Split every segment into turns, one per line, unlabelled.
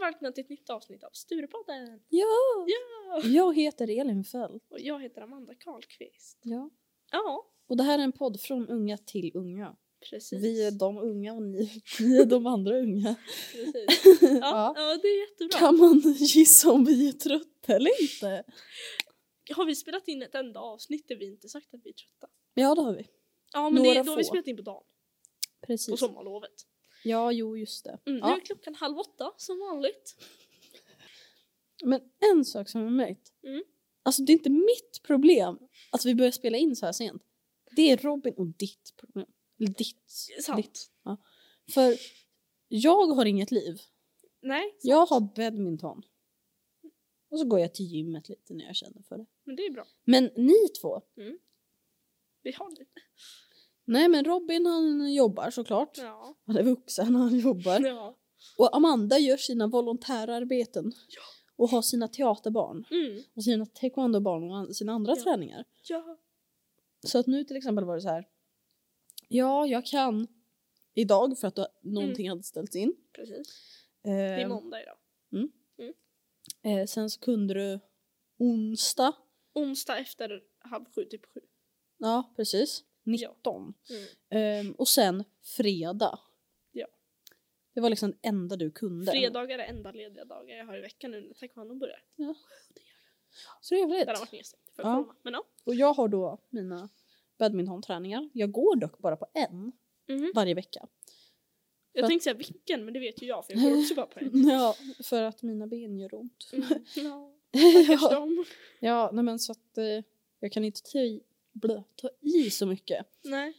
välkomna till ett nytt avsnitt av Sturepodden!
Ja!
Ja!
Jag heter Elin Fält.
Och jag heter Amanda Karlqvist.
Ja.
Ja,
Och det här är en podd från unga till unga.
precis.
Vi är de unga och ni, ni är de andra unga.
precis. Ja,
Ja.
ja. det är jättebra.
Kan man gissa om vi är trötta eller inte?
Har vi spelat in ett enda avsnitt där vi inte sagt att vi är trötta?
Ja, det har vi.
Ja, men det,
Några
då har vi
få.
spelat in på dagen. På
Precis.
sommarlovet.
Ja, jo, just det.
Mm, Nu
Ja.
är klockan halv åtta, som vanligt.
Men en sak som jag märkt.
Mm.
Alltså, det är inte mitt problem att vi börjar spela in så här sent. Det är Robin och ditt problem. Eller ditt.
Sant.
ditt. För jag har inget liv.
Nej,
Jag har badminton. Och så går jag till gymmet lite när jag känner för det.
men det är bra.
Men ni två.
Vi har det.
Nej men Robin han jobbar såklart.
Ja.
Han är vuxen han jobbar.
ja.
Och Amanda gör sina volontärarbeten. Och har sina teaterbarn.
Mm.
Och sina taekwondobarn och an- sina andra
Ja.
träningar.
ja.
Så att nu till exempel var det så här. Ja jag kan idag för att då- någonting hade ställts in.
Precis.
Eh,
Det är måndag idag.
eh, sen så kunde du onsdag.
Onsdag efter halv sju, typ sju.
Ja precis.
Ja.
19.
Mm.
Ehm, och sen fredag.
Ja.
Det var liksom det enda du kunde.
Fredagar är enda lediga dagar jag har i veckan nu när taekwondo börjar.
Så det är väl
Där har
det.
varit nedstängt för
Ja.
corona. Men ja.
Och jag har då mina badmintonträningar. Jag går dock bara på en
Mhm.
varje vecka.
Jag
För-
tänkte säga vilken men det vet ju jag för jag går också bara på en.
Ja, för att mina ben gör ont.
Mm. Ja. Stackars
ja,
dem.
ja nej men så att eh, jag kan inte ta i, blö, ta i så mycket.
Nej.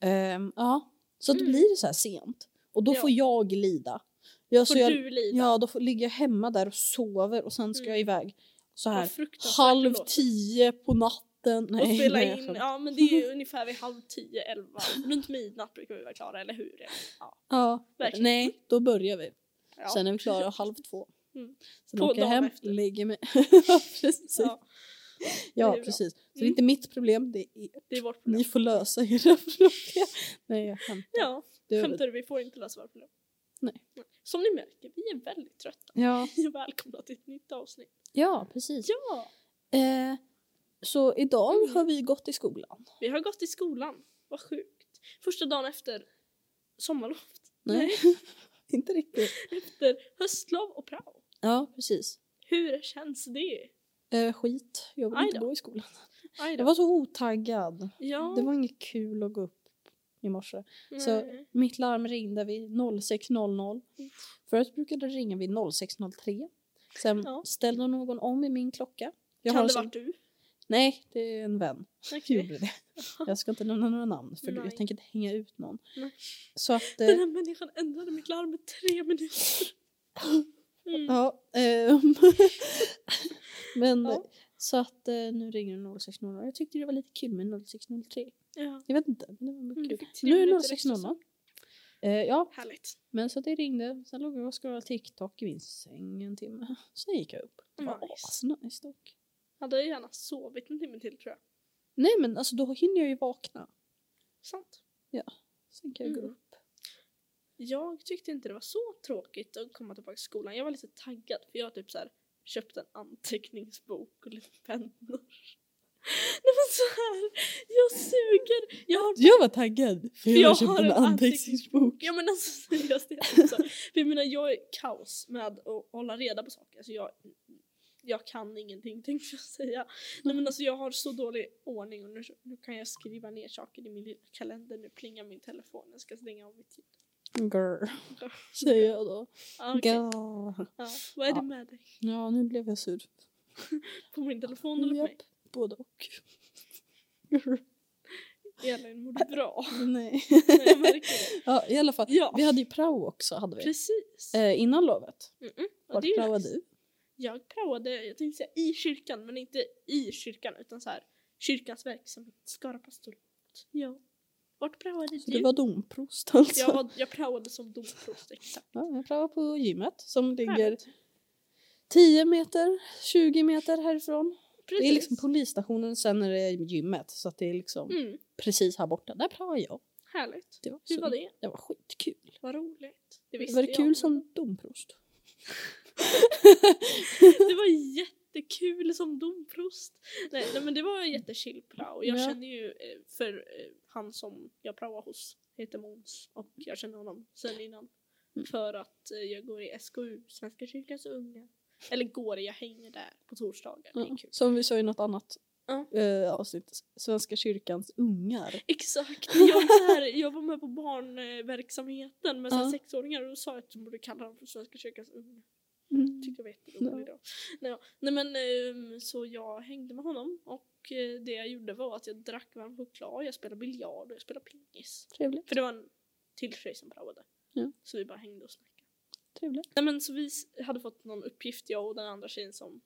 Ehm, ja, så att då
Mm.
blir det så här sent. Och då
Ja.
får jag lida. Jag,
Får
så Alltså, jag,
du lida?
ja, då får, ligger jag hemma där och sover och sen ska
Mm.
jag iväg. Så här
Vad fruktansvärt det
Halv
låter.
tio på natten. Nej,
Och spela
nej, alltså. jag
in,
skämtar.
ja men det är ju ungefär vid halv tio, elva. Runt midnatt brukar vi vara klara, eller hur? Ja.
Ja.
Verkligen.
Nej, då börjar vi.
ja.
Sen är vi klara halv två.
Mm.
Sen
Två
åker jag
dagar
hem,
efter.
lägger mig. ja, precis. Ja,
Ja, det är bra.
precis. Så det är
Mm.
inte mitt problem, det är ert.
det är vårt problem.
Ni får lösa era problem. Nej, jag skämtar.
Ja,
Det är-
skämtar du? Vi får inte lösa våra problem.
Nej.
Som ni märker, vi är väldigt trötta.
Ja.
Välkomna till ett nytt avsnitt.
ja, precis.
Ja!
Eh, så idag
Mm.
har vi gått i skolan.
Vi har gått i skolan. Vad sjukt. Första dagen efter sommarlov,
Nej. inte riktigt.
efter höstlov och prao.
Ja, precis.
Hur känns det?
Eh, skit, jag vill
Aj
inte
då.
gå i skolan.
Aj då.
Jag var så otaggad.
ja,
Det var inget kul att gå upp i morse.
nej.
så- Mitt larm ringde vid 06.00. Förut brukade det ringa vid 06.03. Sen
Ja.
ställde någon om i min klocka. Jag har
kan
en
det
sån-
varit du?
Nej, det är en vän. som
Okej.
Gjorde det. Jag ska inte nämna några namn för
Nej.
jag tänker inte hänga ut någon.
Nej.
Så att, eh,
Den här människan ändrade mitt larm med tre minuter. Mm.
ja, ehm, men
Ja.
så att eh, nu ringer det 06.00. Jag tyckte det var lite kul med 06.03.
Ja.
Jag vet inte, men det var mycket
Mm, du
kul.
fick tre
Nu är det
minuter extra
06.00.
sömn.
Eh, ja,
Härligt.
Men så det ringde, sen låg jag och scrollade TikTok i min säng en timme. Sen gick jag upp. Det var
Nice.
asnice dock.
Hade jag gärna sovit en timme till tror jag.
Nej men alltså då hinner jag ju vakna.
Sant.
Sen kan jag gå
Mm.
upp.
Jag tyckte inte det var så tråkigt att komma tillbaka till skolan. Jag var lite taggad för jag har typ så här köpt en anteckningsbok och lite pennor. Nej men så här, jag suger. Jag har
Jag var taggad för
jag
jag,
har
köpte en
en
anteckningsbok.
Ja men alltså seriöst det är också. För jag menar jag är kaos med att hålla reda på saker. Alltså jag, jag kan ingenting tänkte jag säga. Nej men alltså jag har så dålig ordning och nu, nu kan jag skriva ner saker i min lilla kalender. Nu plingar min telefon. Jag ska stänga av mitt ljud.
Grr. Säger jag då.
Ah, okej.
Grr.
ja, vad är det
Ja.
med dig?
Ja nu blev jag sur.
På min telefon eller på mig?
Japp, både och. Grr.
Elin mår du bra?
Nej.
Nej, jag märker det.
ja i alla fall.
Ja.
Vi hade ju prao också hade vi.
Precis.
Eh, innan lovet.
Mm-mm. Ja,
Vart
det är ju
praoade
nice.
du?
Jag praoade, jag tänkte säga i kyrkan, men inte i kyrkan utan så här kyrkans verksamhet, Skara pastorat. Ja. Vart praoade
Så
du?
du var domprost alltså.
Jag, var, jag praoade som domprost, exakt.
Ja, jag praoade på gymmet som ligger
Härligt.
10 meter, 20 meter härifrån.
Precis.
Det är liksom polisstationen sen är det gymmet så att det är liksom
mm,
precis här borta. Där praoade jag.
härligt.
Det var,
Hur
så-
var det?
Det var skitkul.
Vad roligt. Det
Det
visste
var det
jag.
kul som domprost.
det var jättekul som domprost. Nej, nej men det var en jättechill prao. Jag
Ja.
känner ju eh, för eh, han som jag praoar hos heter Måns och jag känner honom sen innan.
Mm.
För att eh, jag går i SKU, Svenska kyrkans unga. Eller går i, jag hänger där på torsdagar. Det är
Ja,
kul.
Som vi sa i något annat
Ja.
eh, avsnitt. Svenska kyrkans ungar.
Exakt, jag var, så här, jag var med på barnverksamheten med så här
Ja.
sexåringar och då sa jag att de borde kalla dem för Svenska kyrkans unga.
Mm.
tyckte jag var jätterolig då. Nej, ja. Nej men ehm, så jag hängde med honom och eh, det jag gjorde var att jag drack varm choklad, jag spelade biljard och jag spelade pingis.
Trevligt.
För det var en till tjej som praoade.
Ja.
Så vi bara hängde och snackade.
Trevligt.
Nej men så vi s- hade fått någon uppgift jag och den andra tjejen som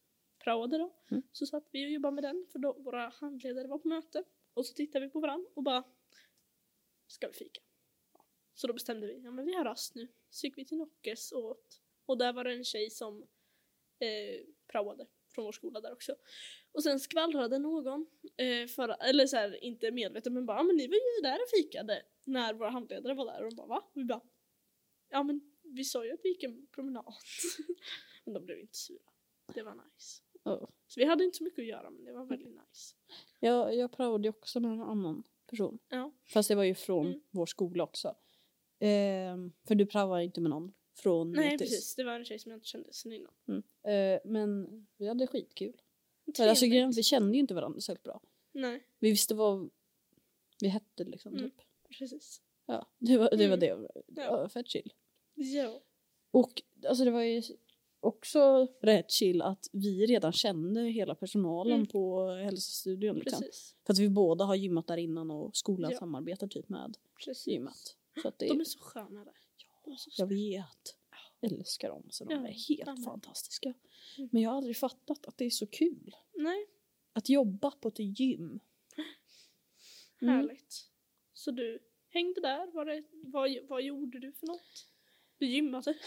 praoade då.
Mm.
Så satt vi och jobbade med den för då våra handledare var på möte. Och så tittade vi på varandra och bara Ska vi fika? Ja. Så då bestämde vi, ja men vi har rast nu. Så gick vi till Nockes och åt. Och där var det en tjej som eh, praoade från vår skola där också. Och sen skvallrade någon, eh, för, eller så här, inte medveten men bara, "Ja, men ni var ju där och fikade när våra handledare var där och de bara va? Och vi bara, ja men vi sa ju att vi gick en promenad. men de blev inte sura. Det var nice.
Ja. Mm.
Så vi hade inte så mycket att göra men det var väldigt nice.
Jag, jag praoade ju också med en annan person.
Ja.
Fast det var ju från
Mm.
vår skola också. Ehm, för du praoade inte med någon från
Nej
Nytis.
precis, det var en tjej som jag inte kände sen innan.
Eh, men vi hade skitkul. Men alltså, grejen, vi kände ju inte varandra så helt bra.
Nej,
Vi visste vad vi hette liksom.
Mm.
Typ.
precis.
Ja, det var det. Var
Mm.
det.
Ja.
Ja, fett chill.
Ja.
Och alltså, det var ju också rätt chill att vi redan kände hela personalen
Mm.
på hälsostudion. Liksom.
Precis.
För att vi båda har gymmat där innan och skolan
Ja.
samarbetar typ med
precis.
gymmet. Så att det,
De är så sköna där. De är så
jag vet. Älskar dem så de
Ja,
är helt
amen.
fantastiska.
Mm.
Men jag har aldrig fattat att det är så kul.
Nej,
Att jobba på ett gym. Mm.
härligt. Så du hängde där, var det, vad, vad gjorde du för något? Du gymmade.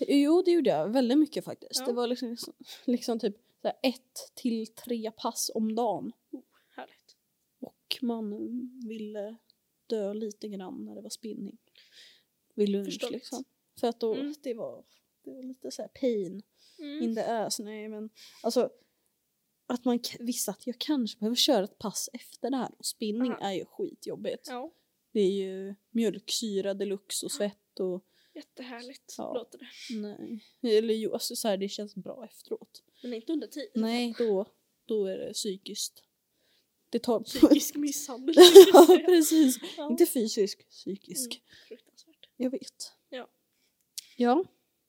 Jo, det gjorde jag. Väldigt mycket faktiskt.
Ja.
Det var liksom, liksom typ så här ett till tre pass om dagen.
Härligt.
Och man mm, ville dö lite grann när det var spinning. Vid lunch
Förståeligt.
liksom. För att då,
Mm.
det, var, det var lite så här pain
Mm.
in the ass. Nej, men alltså att man k- visste att jag kanske behöver köra ett pass efter det här. Och spinning
Aha.
är ju skitjobbigt.
Ja,
Det är ju mjölksyra deluxe och svett och
jättehärligt
Ja.
låter det. Mm.
nej. Eller jo, alltså så här, det känns bra efteråt.
Men inte under tid.
Nej, då, då är det psykiskt. Det tar...
Psykisk misshandel.
ja,
ja.
precis. Inte fysisk, psykisk.
Mm. Fruktansvärt.
Jag vet.
Ja.
Ja.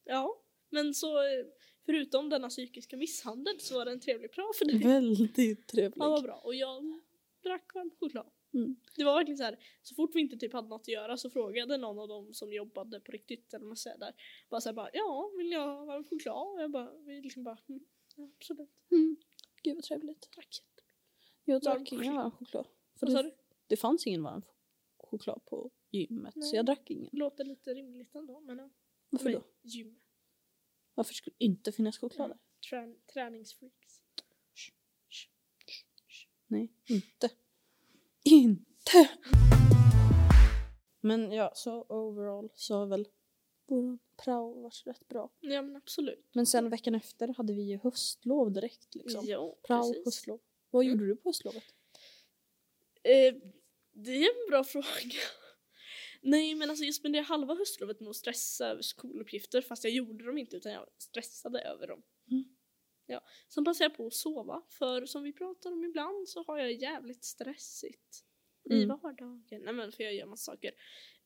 Ja, men så eh, förutom denna psykiska misshandel så var det en trevlig prao för dig.
Väldigt trevlig.
Ja, vad bra. Och jag drack varm choklad.
Mm.
Det var verkligen så här, så fort vi inte typ hade något att göra så frågade någon av dem som jobbade på riktigt, eller vad man säger där, bara så här, bara, ja, vill jag ha varm choklad? Och jag bara, vi liksom bara, mm, ja, absolut,
Mm. Gud vad trevligt.
tack. Varm
Jag drack ingen
choklad.
varm choklad. För
Vad sa
det,
du?
det fanns ingen varm choklad på gymmet
Nej.
så jag drack ingen.
Låter lite rimligt ändå, men ja.
Varför
Men
då?
Gym.
Varför skulle det inte finnas choklad där?
Trän- träningsfreaks.
Nej, inte. Inte! Men ja, så overall så har väl vår prao varit rätt bra.
Ja, men absolut.
Men sen veckan efter hade vi ju höstlov direkt liksom.
Ja,
Prao,
precis.
höstlov. Vad
Mm.
gjorde du på höstlovet?
Eh, det är en bra fråga. Nej men alltså jag spenderade halva höstlovet med att stressa över skoluppgifter fast jag gjorde dem inte utan jag stressade över dem.
Mm.
Ja. Sen passade jag på att sova för som vi pratar om ibland så har jag jävligt stressigt i
Mm.
vardagen. Nej men för jag gör massa saker.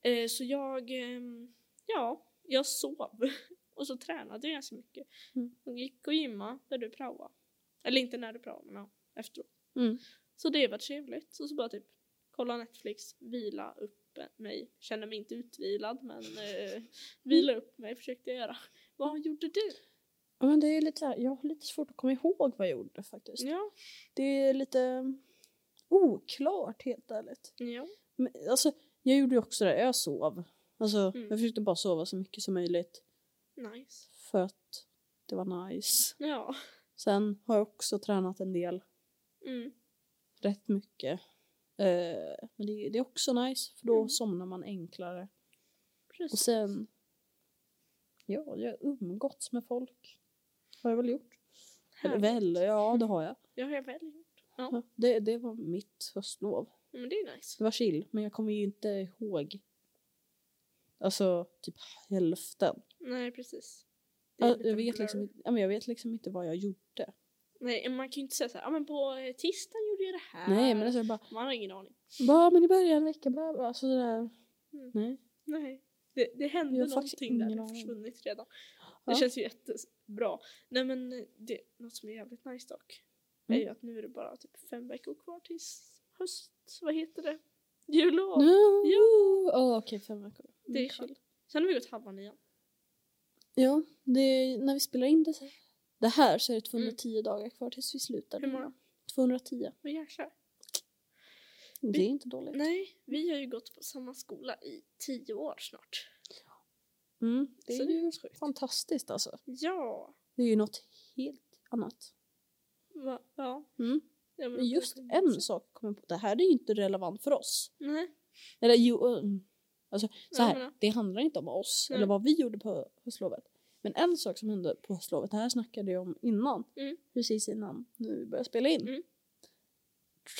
Eh, så jag, ehm, ja, jag sov och så tränade jag ganska mycket.
Mm.
Jag gick och gymma där du praoade. Eller inte när du praoade men ja, efteråt.
Mm.
Så det var trevligt. Och så bara typ kolla Netflix, vila upp mig. Känner mig inte utvilad men eh, vila upp mig försökte jag göra. Vad gjorde du?
Ja, men det är lite så här, jag har lite svårt att komma ihåg vad jag gjorde faktiskt.
Ja.
Det är lite mm, oklart helt ärligt.
ja.
Men, alltså, jag gjorde ju också det, jag sov. Alltså,
Mm.
Jag försökte bara sova så mycket som möjligt
Nice.
för att det var nice.
Ja.
Sen har jag också tränat en del,
Mm.
rätt mycket. Eh, men det, det är också nice för då
Mm.
somnar man enklare.
Precis.
Och sen, ja, jag har umgåtts med folk. Har jag väl gjort? Eller
Härligt.
väl, ja det har jag.
Ja, jag har väl gjort. Ja.
Ja, det, det var mitt höstlov.
Ja, Men det är nice.
Det var chill, men jag kommer ju inte ihåg. Alltså typ hälften.
Nej, precis. Det är
Ja,
lite
Jag vet,
blur.
liksom, inte- ja, men jag vet liksom inte vad jag gjorde.
Nej, man kan ju inte säga så här, ah, men på eh, tisdagen gjorde jag det här.
Nej men alltså jag bara,
Man har ingen aning.
bara men i början vecka bla bla. Alltså sådär.
Mm.
Nej.
Nej. Det, det hände
Jag har faktiskt
någonting där,
ingen
det har
aning.
försvunnit redan.
Ja.
Det känns ju jättebra. Nej men eh, det, något som är jävligt nice dock
Mm.
är ju att nu är det bara typ fem veckor kvar tills höst, vad heter det? Jullov!
No. Ja, Okej, fem veckor. Mm.
Det är skönt. Sen har vi gått halva nian.
Ja, det är, när vi spelar in det, så- det här så är det 210 dagar kvar tills vi slutar.
Mm. Hur många?
210.
Vad jäklar.
Det är inte dåligt.
Nej, vi har ju gått på samma skola i tio år snart.
Mm, det
Så
är
det är
ju
sjukt.
fantastiskt alltså.
Ja!
Det är ju något helt annat.
Va? Ja.
Mm.
ja
Men just
på ett
en
sätt.
sak kommer jag på. Det här är ju inte relevant för oss.
Nej.
Eller jo, mm. alltså så
Ja,
här,
men då.
det handlar inte om oss
Mm-hmm. Nej.
eller vad vi gjorde på höstlovet. Men en sak som hände på höstlovet, det här snackade jag om innan.
Mm.
Precis innan nu vi började spela in.
Mm.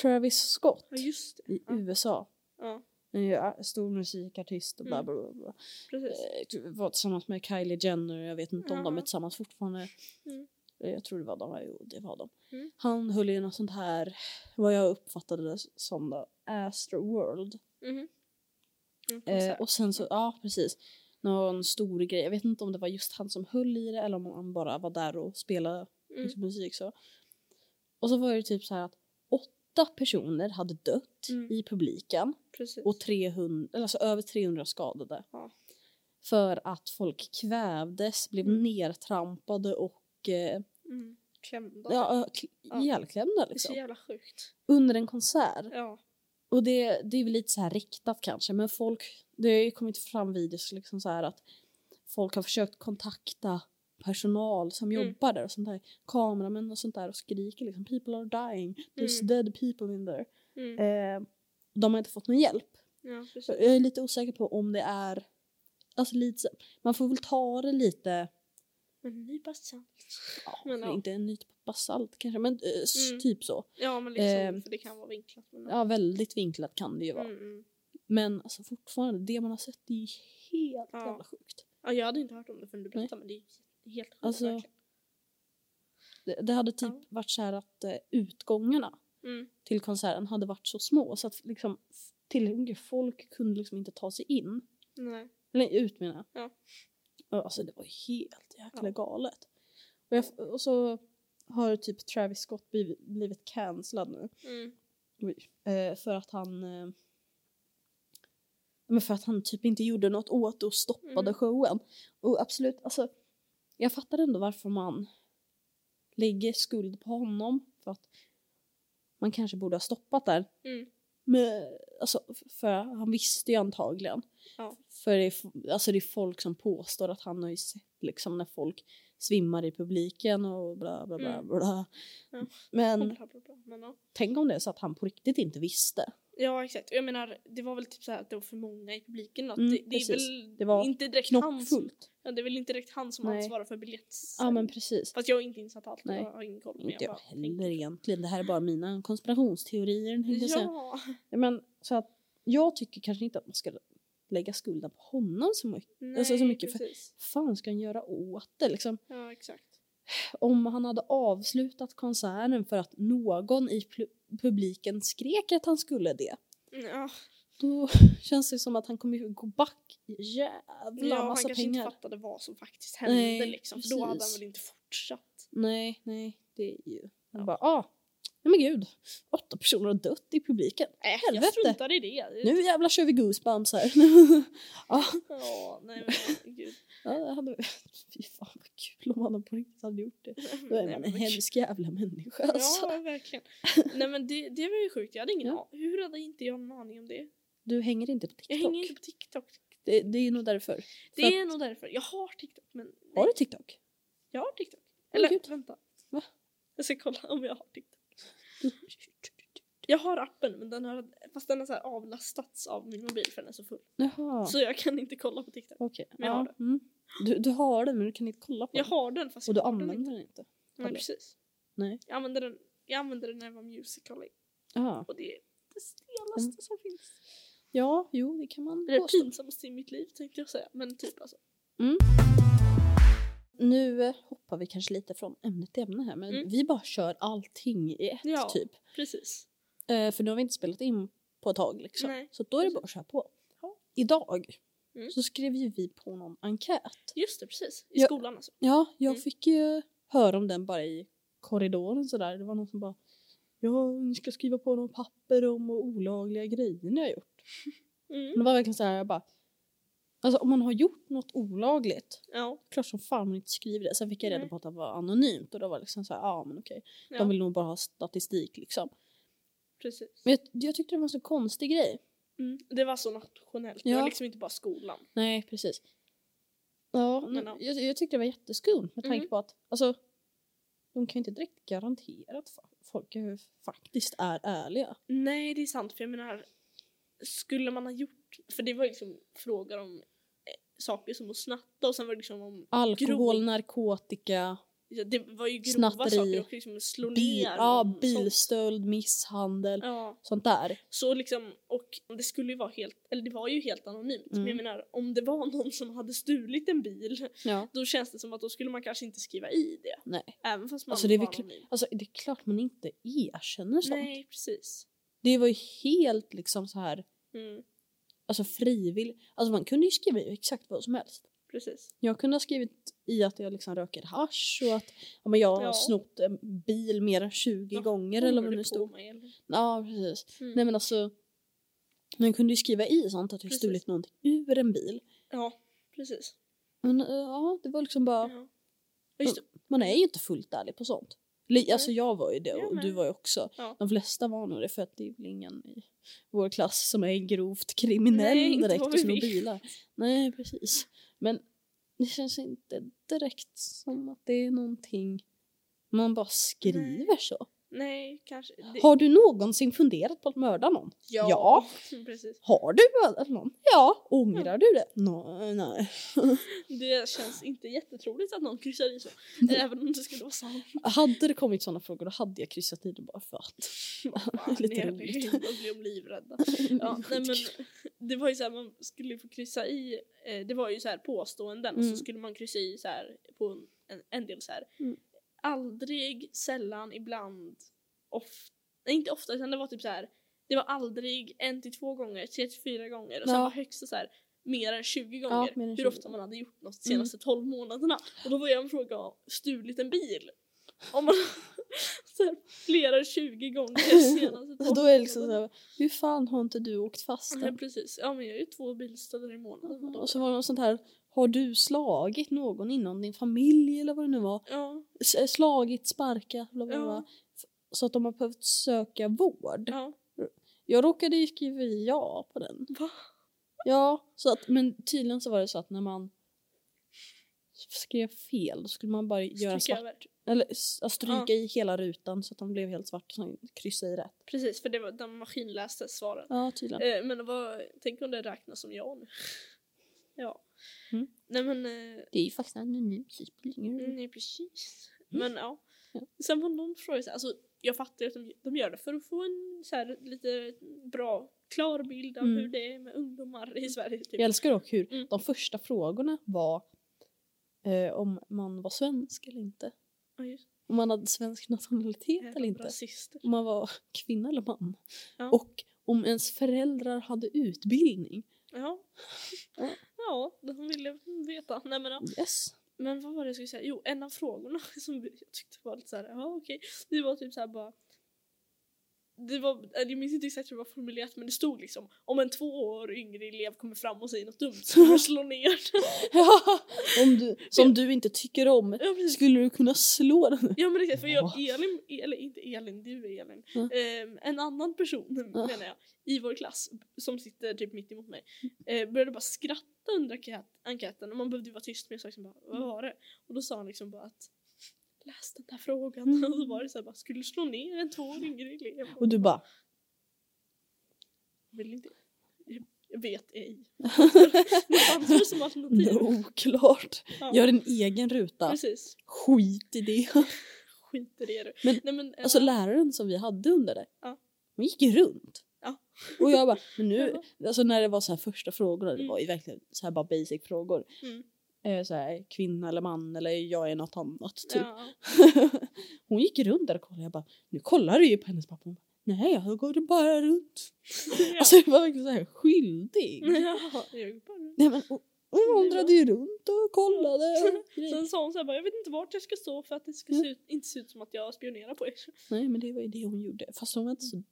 Travis Scott
Ja just det.
i
Ja.
USA.
Ja,
En ju- äh, stor musikartist och bla
Mm.
bla bla. bla.
precis.
Eh, Var tillsammans med Kylie Jenner, jag vet inte om de
Ja.
är tillsammans fortfarande.
Mm.
Eh, Jag tror det var de, jo det var de.
Mm.
Han höll i något sånt här, vad jag uppfattade det som då, Astroworld.
Mhm. Mm,
Eh,
konsert.
och sen så, ja precis. Någon stor grej. Jag vet inte om det var just han som höll i det eller om han bara var där och spelade
Mm.
liksom, musik. Så. Och så var det typ så här att åtta personer hade dött
Mm.
i publiken
Precis.
och 300, eller alltså över 300 skadade.
Ja.
För att folk kvävdes, blev
Mm.
nertrampade och eh,
Mm. Klämda.
ja, kl-
Ja.
ihjälklämda
Det är så
liksom,
jävla sjukt.
under en konsert.
Ja.
Och det, det är väl lite så här riktat kanske, men folk, det har ju kommit fram videos liksom så här att folk har försökt kontakta personal som
Mm.
jobbar där och sånt där, kameramän och sånt där och skriker liksom people are dying, there's
Mm.
dead people in there.
Mm.
Eh, de har inte fått någon hjälp.
Ja, precis.
Jag är lite osäker på om det är, alltså lite, så- man får väl ta det lite,
Men ny bassan.
ja,
Men ja.
inte en nytt basalt kanske, men eh, s-
Mm.
typ så.
Ja, men liksom,
Ehm,
för det kan vara vinklat. Men
Ja, väldigt vinklat kan det ju vara.
Mm, mm.
Men alltså fortfarande, det man har sett det är ju helt
Ja.
jävla sjukt.
ja, jag hade inte hört om det förrän du berättade, men det är ju helt sjukt
Alltså-
verkligen.
Det, det hade typ
Ja.
varit så här att eh, utgångarna
Mm.
till konserten hade varit så små så att liksom tillräckligt folk kunde liksom inte ta sig in.
Nej.
Eller ut menar jag.
Ja.
Och, Alltså det var ju helt jäkla
Ja.
galet. Och, jag, och så har typ Travis Scott blivit, blivit cancellad nu.
Mm.
Oj. Eh, för att han... Eh, men för att han typ inte gjorde något åt det och stoppade
Mm.
showen. Och absolut, alltså. Jag fattar ändå varför man lägger skuld på honom. För att man kanske borde ha stoppat där.
Mm.
Men, alltså, f- för han visste ju antagligen.
Ja.
För det är, f- alltså det är folk som påstår att han har ju sett liksom när folk svimmar i publiken och bla bla bla.
Mm.
bla.
Ja.
Men
Bla, bla, bla. Men, ja.
tänk om det är så att han på riktigt inte visste.
ja, exakt. Jag menar, det var väl typ så här att det var för många i publiken. Att
Mm,
det, det är
precis.
väl
Det var
inte direkt han som,
Knoppfullt.
ja, det är väl inte direkt han som
Nej.
ansvarar för biljett.
Ja men precis.
Fast jag är inte insatt på allt.
Nej.
Jag har ingen koll. men
Inte jag
bara tänker.
heller egentligen. Det här är bara mina konspirationsteorier. tänkte jag säga.
Ja.
Ja. Men, så att jag tycker kanske inte att man ska lägga skulden på honom så mycket.
Nej,
Alltså, så mycket för-
precis.
fan ska han göra åt det liksom?
Ja, exakt.
Om han hade avslutat konserten för att någon i pl- publiken skrek att han skulle det.
Mm, Ja,
Då känns det som att han kommer ju gå back jävla
ja han
massa
kanske
pengar.
inte fattade vad som faktiskt hände
Nej,
liksom. För då hade han
precis.
väl inte fortsatt.
Nej, nej, det är ju... Han
Ja.
bara, ah, nej men gud. Åtta personer har dött i publiken.
Äh,
Helvete.
jag struntar i det.
Nu jävlar kör vi goosebumps här. ja,
Ja, nej men gud.
ja, det hade... Fy fan vad kul om han på riktigt hade gjort det. Då är
Nej,
man
men
en
gud.
hemsk jävla människa alltså.
Ja, verkligen. Nej men det, det var ju sjukt. Jag hade ingen
Ja.
aning. Hur hade inte jag en aning om det? Jag
Du hänger inte på TikTok.
hänger inte på TikTok.
Det, det är nog därför.
Det
För
är nog därför. Jag har TikTok men nej,
Har du TikTok?
jag har TikTok.
Åh,
Eller
gud.
vänta.
Va?
Jag ska kolla om jag har TikTok. Jag har appen men den har, fast den har så här avlastats av min mobil för den är så full.
Jaha,
Så jag kan inte kolla på TikTok.
okej.
Men jag har
Ja, mm. Du, du har den men du kan inte kolla på
Jag
den.
har den fast
Och du
jag har den
använder den inte.
Nej,
eller?
precis.
Nej.
Jag använde den, jag använde den när jag var musical
Ja.
och det är det stelaste
Mm.
som finns.
ja, jo det typ- kan man
Det är det
påstå.
pinsammaste i mitt liv tänkte jag säga. Men typ alltså.
Nu eh, hoppar vi kanske lite från ämne till ämne här men
Mm.
vi bara kör allting i ett
Ja.
typ.
Precis.
Eh, för nu har vi inte spelat in på ett tag liksom.
Nej.
Så då är det bara att köra på.
Ja.
Idag
Mm.
så skrev ju vi på någon enkät.
Just det, precis. I
Ja.
skolan alltså.
Ja, jag
Mm.
fick ju höra om den bara i korridoren sådär. Det var någon som bara Ja, ni ska skriva på någon papper om olagliga grejer ni har gjort. Men
Mm.
det var verkligen så här, jag bara... Alltså om man har gjort något olagligt,
Ja.
klart som fan man inte skriver det. Sen fick jag reda
Nej.
på att det var anonymt och då var det liksom så här, ja men okej.
ja.
De vill nog bara ha statistik liksom.
Precis.
Men jag, jag tyckte det var en så konstig grej.
Mm. Det var så nationellt. Det
Ja.
var liksom inte bara skolan.
Nej, precis. Ja,
Men ja.
jag, jag tyckte det var jätteskumt med tanke
Mm.
på att alltså, de kan ju inte direkt garantera att fa- folk är, faktiskt är ärliga.
Nej, det är sant. För jag menar, skulle man ha gjort... För det var liksom frågor om eh, saker som att snatta och sen var det liksom om...
Alkohol,
Grov-
narkotika,
Ja, det var ju grova
Snatteri.
saker och liksom slå
bil,
ner. och
ja,
sånt.
bilstöld, misshandel,
Ja.
sånt där.
Så liksom, och det skulle ju vara helt, eller det var ju helt anonymt.
Mm.
Men jag menar, om det var någon som hade stulit en bil,
Ja.
då känns det som att då skulle man kanske inte skriva i det.
Nej.
Även fast man
Alltså, det är
var
väl kl-
anonym.
Alltså det är klart man inte erkänner sånt.
Nej, precis.
Det var ju helt liksom så här,
Mm,
alltså frivilligt. Alltså man kunde ju skriva i exakt vad som helst.
precis.
Jag kunde ha skrivit i att jag liksom röker hasch och att ja, men jag har
Ja.
snott en bil mer än 20
Vad
gånger eller
Håller
vad det
du
nu
på
stod.
med, eller?
Ja, precis.
Mm.
Nej men alltså. Man kunde ju skriva i sånt att jag
Precis.
stulit någonting ur en bil.
Ja, precis.
Men eh, ja, det var liksom bara,
Ja. Ja, Just det.
man är ju inte fullt ärlig på sånt. Eller, Alltså jag var ju det
Jag
och du
med.
var ju också.
Ja.
De flesta var nog det för att det är väl ingen i vår klass som är grovt kriminell
Nej, inte
direkt
vad
och
vi
snor
vet.
bilar. Nej, precis. Men det känns inte direkt som att det är någonting man bara skriver så.
Nej, kanske. Det...
Har du någonsin funderat på att mörda någon? Ja.
precis.
Har du mördat någon? Ja. Ångrar du det? Nej. nej.
Det känns inte jättetroligt att någon kryssar i så.
Nej.
Även om det skulle vara sant.
Hade det kommit sådana frågor då hade jag kryssat i det bara för att.
Fan,
Lite
Lite
roligt.
roligt. De blev livrädda. Ja, nej, men, det var ju så här, man skulle få kryssa i, eh, det var ju så här påståenden och
Mm.
så skulle man kryssa i så här på en, en, en del så här.
Mm.
Aldrig, sällan, ibland, ofta, nej inte ofta utan det var typ så här. Det var aldrig en till två gånger, tre till fyra gånger och sen
Ja.
var högsta så här mer än 20
Ja,
gånger
mer än Mm.
hur
20.
ofta man hade gjort något de senaste 12 månaderna. Och då var jag en fråga om stulit en bil. Om man så här, fler än 20 gånger de senaste 12
Så då är det liksom
månaderna.
så här, hur fan har inte du åkt fast
Ja,
än?
precis. Ja, men jag är ju två bilstölder i månaden.
Och så var det något sånt här, har du slagit någon inom din familj eller vad det nu var?
Ja,
S- eh, slagit, sparkat, bla bla
Ja.
bla. F- Så att de har behövt söka vård.
ja.
Jag råkade ju skriva i ja på den.
Va?
Ja, så att, men tydligen så var det så att när man skrev fel då skulle man bara göra
Stryka
svart,
över.
eller s- ja, stryka
Ja.
i hela rutan så att de blev helt svart och sen kryssa i rätt.
Precis, för det var, de maskinläste svaren.
Ja, tydligen.
Eh, men vad, tänk om det räknas som jag nu. ja.
Mm.
Nej men, eh,
Det är ju faktiskt anonymt, så det spelar ingen roll.
nej precis.
Mm.
Men ja.
Ja.
Sen var någon fråga så här, alltså jag fattar ju att de, de gör det för att få en så här lite bra, klar bild av
Mm.
hur det är med ungdomar i Sverige. Typ.
Jag älskar dock hur
Mm.
de första frågorna var eh, om man var svensk eller inte.
Ja, just
Om man hade svensk nationalitet
det.
eller inte.
Rasister.
Om man var kvinna eller man.
Ja.
Och om ens föräldrar hade utbildning.
Ja.
Ja.
ja, de ville veta. Nej men ja.
Yes.
Men vad var det jag skulle säga? Jo, en av frågorna som jag tyckte var lite såhär, ja okej. Det var typ såhär bara. Det var, eller jag minns inte exakt hur det var formulerat men det stod liksom om en två år yngre elev kommer fram och säger något dumt så kommer jag slå ner den.
om du, som du inte tycker om.
Ja, precis.
Skulle du kunna slå den?
Ja men exakt för jag,
Va?
Elin, eller inte Elin, du är Elin.
Ja.
Ehm, en annan person
Ja.
menar jag i vår klass som sitter typ mitt emot mig eh, började bara skratta under enkät, enkäten och man behövde ju vara tyst men jag sa liksom bara vad var det? Och då sa han liksom bara att läs den där frågan och så var det så här bara skulle du slå ner en två år yngre elev?
Och du bara,
vill inte. Jag- vet ej. Något annat som alternativ.
Oklart.
typ. Ja,
Gör en egen ruta.
Precis.
Skit i det.
Skit i det du.
Men,
Nej, men, eh,
Alltså läraren som vi hade under det.
Ja.
Hon gick ju runt.
Ja.
Och jag bara, men nu, alltså när det var så här första frågorna, det
Mm.
var ju verkligen så här bara basic frågor.
Mm.
Eh, Så här, kvinna eller man eller jag är något annat typ.
ja.
Hon gick runt där och kollade. Jag bara, nu kollar du ju på hennes pappa. Hon bara, nej jag går bara runt.
Ja. Mm.
Alltså jag var verkligen så här skyldig.
Ja, jag är bara-
Nej men hon, hon vandrade ju runt och kollade. och grejer.
Sen sa hon så här bara, jag vet inte vart jag ska stå för att det ska
Mm.
se ut, inte se ut som att jag spionerar på er.
nej men det var ju det hon gjorde. Fast hon var inte så
Mm.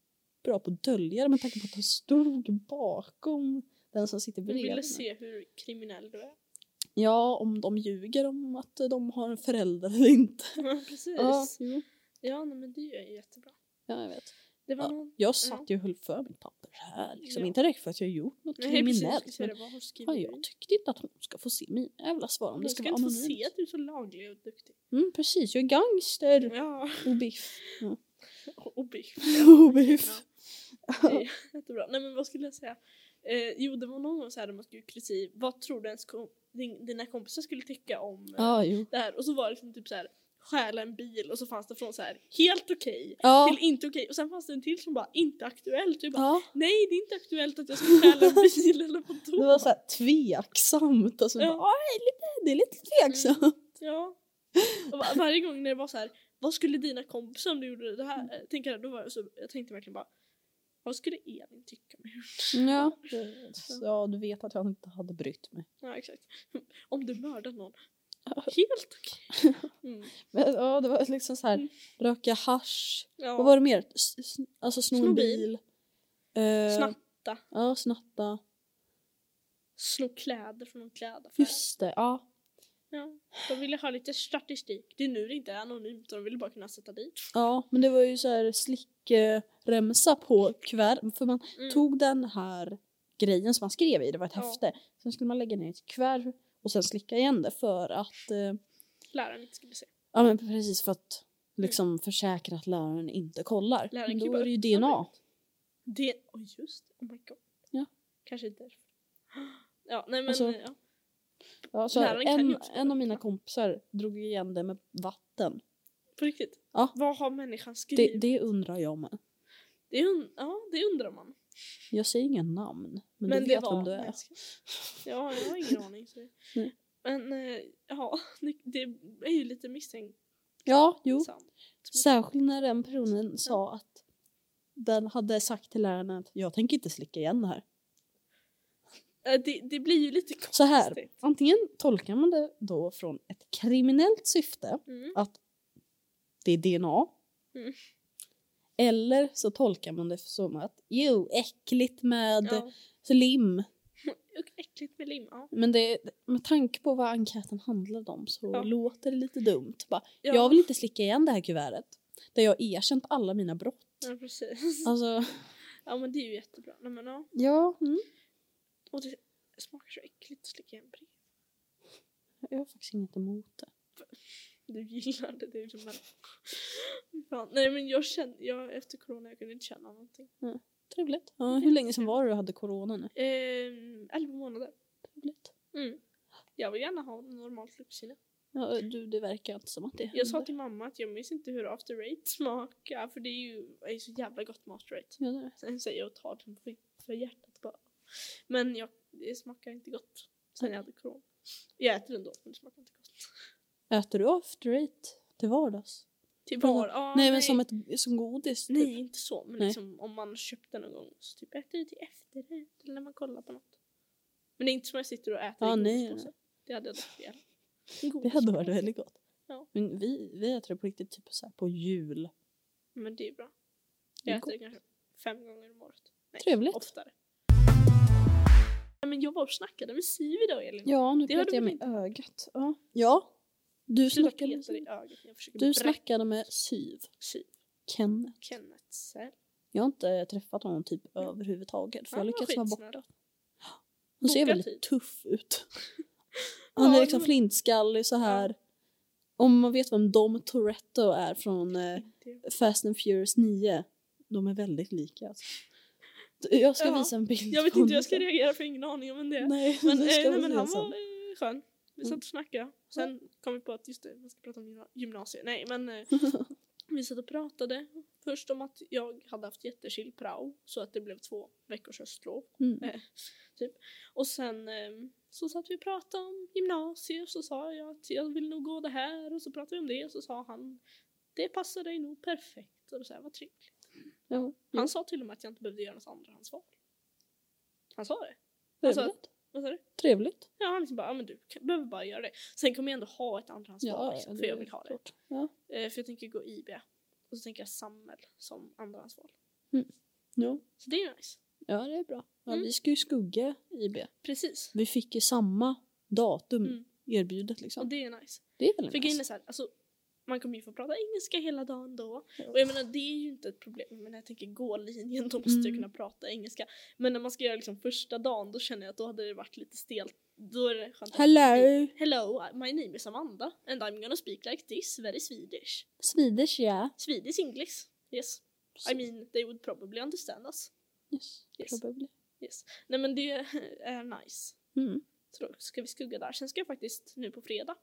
bra på att dölja det med tanke på att hon stod bakom den som sitter
Vi
bredvid.
ville
henne.
se hur kriminell du är.
Ja om de ljuger om att de har en förälder eller inte.
Ja, precis.
Ja,
Ja,
jo.
nej, men det är jättebra.
ja jag vet.
Det var
Ja.
någon...
Jag satt ju och höll för mitt papper här. Liksom.
Mm. Ja.
Inte direkt för att jag gjort något
Nej, precis. Jag
kriminellt.
skulle säga
Men
det. Vad har skrivit
Ja,
ut?
jag tyckte inte att hon ska få se mina jävla svar om det
Hon
ska
ska
vara
inte få se
anonymt.
att du är så laglig och duktig.
Mm, precis, jag är gangster.
Ja,
Och biff.
och biff.
Och biff.
Ja, det är jättebra. Nej men vad skulle jag säga? Eh, jo det var någon gång så här där man skulle göra kritik. Vad tror du ens kom, din, dina kompisar skulle tycka om eh,
Ja, jo.
det här? Och så var det liksom typ så här stjäla en bil och så fanns det från så här helt okej
Ja.
till inte okej och sen fanns det en till som bara inte aktuellt. Jag bara,
ja.
Nej det är inte aktuellt att jag ska stjäla en bil eller
Det
vadå?
var så här tveksamt. Alltså,
Ja.
bara, "Aj, lite, det är lite tveksamt.
Ja. Och va- varje gång när det var så här, vad skulle dina kompisar om du gjorde det här?
Mm.
Eh, Tänker jag, då var jag, så, jag tänkte verkligen bara, vad skulle Elin tycka om jag gjorde
Ja. ja, du vet att jag inte hade brytt mig.
Ja, exakt. Om du mördar någon. Helt okej. Mm.
Men, ja, det var liksom så här,
Mm.
röka hasch.
Ja.
Vad var det mer? S- s- alltså sno en
Sno
bil.
bil.
Eh,
Snatta.
Ja, snatta.
Sno kläder från någon klädaffär.
Just det, ja.
Ja. De ville ha lite statistik. Det är nu det inte är anonymt. De ville bara kunna sätta dit.
Ja, men det var ju så här slickremsa på kuvert. För man
Mm.
tog den här grejen som man skrev i, det var ett
Ja.
häfte. Sen skulle man lägga ner i ett kuvert och sen slicka igen det för att, eh,
Läraren inte skulle se.
ja men precis för att liksom försäkra att läraren inte kollar.
Läraren
Men
kan ju
då
bara
är det ju
öppna
DNA.
Det, oh just det. Oh my god.
Ja.
Kanske inte därför. Ja, nej men.
Alltså,
ja.
Ja, så här,
Läraren kan ju
en,
inte bara
en av mina
öppna.
kompisar drog igen det med vatten.
På riktigt.
Ja.
Vad har människan skrivit?
Det,
Det,
det undrar jag med.
un- ja, det undrar man.
Jag säger inga namn, men, du
det
vet vem du
Nej,
är.
jag ska- Ja, jag har ingen aning. Så.
Nej.
Men eh, ja, det, det är ju lite misstänkt.
Ja, jo.
sant.
Särskilt när den personen sa att den hade sagt till läraren att jag tänker inte slicka igen det här.
Eh, Det, det blir ju lite konstigt.
Så här. Antingen tolkar man det då från ett kriminellt syfte,
Mm.
att det är DNA.
Mm.
Eller så tolkar man det som att jo, äckligt med
Ja.
slim.
Och äckligt med lim. Ja.
Men det, med tanke på vad enkäten handlade om så
Ja.
låter det lite dumt. Bara,
Ja.
Jag vill inte slicka igen det här kuvertet. Där jag erkänt alla mina brott.
ja, precis.
Alltså,
Ja, men det är ju jättebra. Nej, men, ja.
ja. Mm.
Och det smakar så äckligt att slicka igen brev.
Jag har faktiskt inget emot det.
Du gillar det, det är ju så märkligt. Fan. Nej, men jag känner, jag, efter corona, jag kunde inte känna någonting.
Trevligt. Ja, hur länge sedan var det du hade corona nu?
Ehm, elva månader.
Trevligt.
Mm. Jag vill gärna ha normalt luktsinne.
Ja, du, det verkar inte som att det
Jag sa
händer.
till mamma att jag minns inte hur after eight smakar för det är ju det är så jävla gott med after eight.
Ja, det är.
Sen säger jag och tar den för, för hjärtat bara. Men jag, det smakar inte gott sen jag hade corona. Jag äter den då men det smakar inte gott.
Äter du after eight till vardags?
Till
Vadå?
var, ah,
nej, men som, ett, som godis? typ.
Nej inte så men
Nej.
liksom om man har köpt den någon gång så typ äter jag till efterrätt eller när man kollar på något. Men det är inte som jag sitter och äter
Ja,
i
nej.
godispåse. Det hade jag dock fel.
Det hade varit väldigt gott.
Ja.
Men vi, vi äter det på riktigt typ så här på jul.
Men det är bra.
Det är
Jag äter
gott.
det kanske fem gånger om året. Nej,
Trevligt.
Oftare. Nej, men jag var och snackade med Siv idag Elin.
Ja, nu
Det har
petar
du
jag
väl
med ögat. Ja, ja. du,
Sluta
snackade,
peta i ögat. Jag försöker
du
berätta.
snackade med Siv.
Siv.
Ken.
Kenneth Sell.
Jag har inte träffat honom typ överhuvudtaget för jag
Han var
lyckats vara
skitsnäll.
borta. Han ser
Boka
väldigt
tid.
tuff ut. Han är
Ja,
liksom
men-
flintskallig så här. Om man vet vem Dom Toretto är från eh,
Inte jag.
Fast and Furious 9. De är väldigt lika. Alltså. Jag ska
Ja.
visa en bild.
Jag vet
på
inte hur jag
honom
ska reagera för jag har ingen aning om vem det är.
Nej,
Men,
det
eh,
ska
nej,
vi
men
se
han
sen. Mm.
var eh, skön. Vi satt och snackade. Sen kom vi på att just det, man ska prata om gymna- gymnasiet. Nej men eh, vi satt och pratade. Först om att jag hade haft jättechill prao så att det blev två veckors höstlov.
Mm.
Eh, typ. Och sen eh, så satt vi och pratade om gymnasiet och så sa jag att jag vill nog gå det här och så pratade vi om det och så sa han det passar dig nog perfekt och då sa jag vad trevligt.
Ja.
Han sa till och med att jag inte behövde göra något andrahandsval. Han sa det.
Trevligt.
alltså- Vad sa du?
Trevligt.
Ja, han liksom bara, ja men du kan, behöver bara göra det. Sen kommer jag ändå ha ett andrahandsval liksom, för
det
jag
är
vill ha det.
klart. Ja.
Eh, för jag tänker gå IB. Och så tänker jag Sammel som andrahandsval.
Ja.
Så det är ju nice.
ja, det är bra. Ja,
Mm.
Vi ska ju skugga IB.
Precis.
Vi fick ju samma datum
Mm.
erbjudet liksom.
Och det är nice.
Det är väl
För
en
grejen är
nice.
så här, alltså, man kommer ju få prata engelska hela dagen då.
Ja.
Och jag menar det är ju inte ett problem. Men när jag tänker gå linjen då måste jag
Mm.
kunna prata engelska. Men när man ska göra liksom första dagen då känner jag att då hade det varit lite stelt. Då är det skönt. att-
Hello!
Hello, my name is Amanda and I'm gonna speak like this, very Swedish.
Swedish yeah.
Swedish English, yes. I mean, they would probably understand us.
yes.
Yes.
Probably.
Yes. Nej men det är eh, nice.
Mm.
Så då ska vi skugga där. Sen ska jag faktiskt nu på fredag,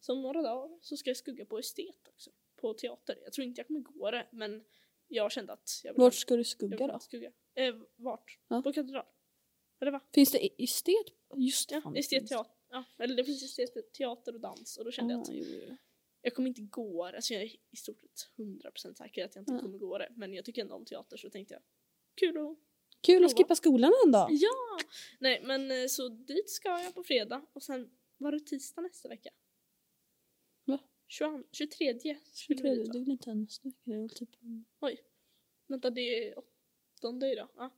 så om några dagar, så ska jag skugga på estet också. På teater. Jag tror inte jag kommer gå det men jag kände att jag vill
Vart ska du
jag
skugga
vill
då?
skugga. Eh, vart?
Ja.
På katedral? Eller va?
Finns det i- estet? Just det.
Ja,
fan, det finns.
estetteater. Ja, eller det finns estetteater och dans och då kände jag
Ah,
att
jo, jo, jo.
jag kommer inte gå det. Alltså jag är i stort sett 100% säker att jag inte
Ja.
kommer gå det. Men jag tycker ändå om teater så tänkte jag kul att
Kul
Prova.
att skippa skolan en dag.
Ja! Nej men eh, så dit ska jag på fredag och sen var det tisdag nästa vecka?
Va?
22, 23 skulle vi
23,
dit
det är
va?
väl inte ens det är väl typ...
Vänta det är åttonde idag? Ja.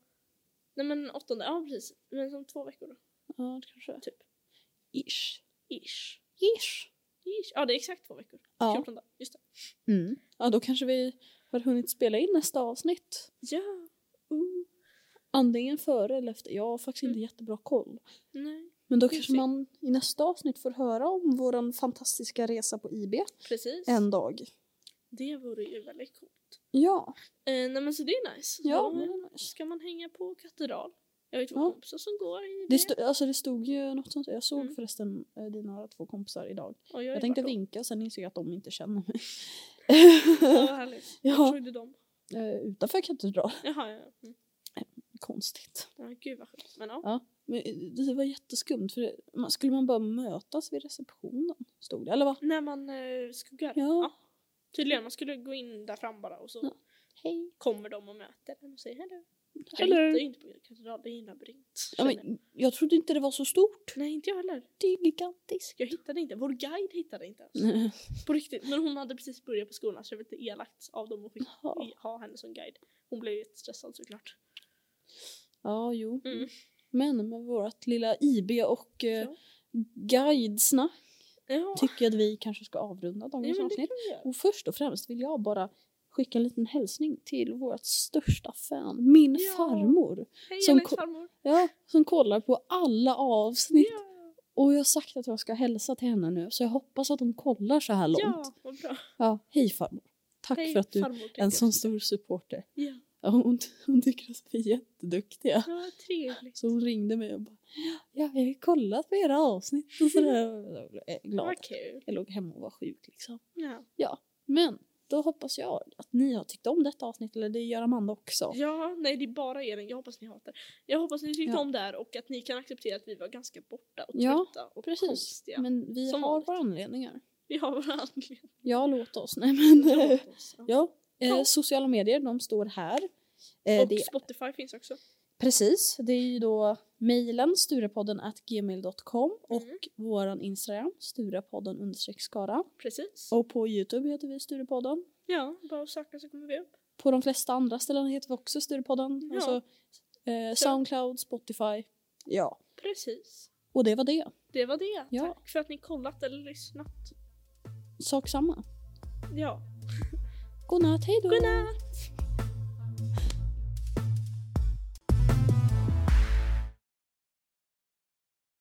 Nej men åttonde, ja precis. Men som två veckor då.
Ja, det kanske är.
Typ.
Ish.
Ish.
Ish.
Ish. Ja det är exakt två veckor.
Ja.
14 dagar, just det.
Mm. Ja, då kanske vi har hunnit spela in nästa avsnitt.
Ja.
Ooh. Antingen före eller efter. Jag har faktiskt
Mm.
inte jättebra koll.
Nej.
Men då
Vi
kanske
ser.
man i nästa avsnitt får höra om vår fantastiska resa på IB
Precis.
en dag.
Det vore ju väldigt coolt.
Ja,
Eh, nej men så det är nice. Så
ja.
då
men det är nice.
Ska man hänga på katedral? Jag har ju två
Ja.
kompisar som går i
Det, stod, alltså det stod ju något sånt. Jag såg
Mm.
förresten eh, dina två kompisar idag.
Och jag,
Jag
är
tänkte
bara två.
vinka sen insåg jag att de inte känner mig.
Ja, vad härligt. Jag
ja,
såg det dem.
eh, utanför katedral.
Jaha, ja. ja. Mm.
Konstigt.
Ja, gud vad skönt. Men ja.
Ja. Men eh, det var jätteskumt för det, man, skulle man bara mötas vid receptionen? Stod det, eller vad?
När man eh, skuggar.
Ja.
Tydligen, man skulle gå in där fram bara och så
Ja. Hej.
kommer de och möter en och säger hej Jag
Hello.
hittar ju inte på katedral, det är en labyrint.
Ja,
känner jag.
men, jag trodde inte det var så stort.
Nej, inte jag heller.
Det är gigantiskt.
Jag hittade inte. Vår guide hittade inte ens.
Mm.
På riktigt. Men hon hade precis börjat på skolan så det var lite elakt av dem att skicka,
Ja.
ha henne som guide. Hon blev jättestressad såklart.
Ja, jo.
Mm.
Men med vårt lilla IB och eh,
Ja.
guidesnack
Ja,
tycker jag att vi kanske ska avrunda
ja
dagens
men det kan
avsnitt.
vi göra.
Och först och främst vill jag bara skicka en liten hälsning till vårt största fan, min
Ja.
farmor.
Hej
Som
Elins
ko-
farmor!
Ja, som kollar på alla avsnitt.
Ja,
Och jag har sagt att jag ska hälsa till henne nu så jag hoppas att hon kollar så här
ja
långt.
vad bra.
Ja, hej farmor. Tack
Hej,
för att du
farmor, tänkte
är en
jag.
sån stor supporter.
Ja,
typ. Ja, hon, hon tycker att vi är jätteduktiga.
ja vad trevligt.
Så hon ringde mig och bara ja, jag har ju kollat på era avsnitt och sådär. Och Jag blev glad.
Vad kul.
Jag låg hemma och var sjuk liksom.
Ja.
Men då hoppas jag att ni har tyckt om detta avsnitt eller det gör Amanda också.
Ja, nej det är bara er. Jag hoppas ni hatar. Jag hoppas ni tyckte
Ja.
om det här och att ni kan acceptera att vi var ganska borta och
Ja,
trötta och
Precis.
konstiga.
Men vi
Som
har
vanligt.
våra anledningar.
Vi har våra anledningar.
Ja, låt oss. Nej men. eh,
Förlåt oss. Ja.
ja. Eh,
Ja.
sociala medier, de står här. Eh,
Och
det,
Spotify finns också.
precis, det är ju då mejlen sturepodden at gmail.com och
Mm.
våran Instagram sturepodden understreck skara.
Precis.
Och på Youtube heter vi Sturepodden.
Ja, bara att söka så kommer vi upp.
På de flesta andra ställen heter vi också Sturepodden.
Ja.
Alltså, eh, Soundcloud, Spotify. Ja.
Precis.
Och det var det.
Det var det.
Ja.
Tack för att ni kollat eller lyssnat.
Sak samma.
Ja.
Godnatt, hej då!
Godnatt!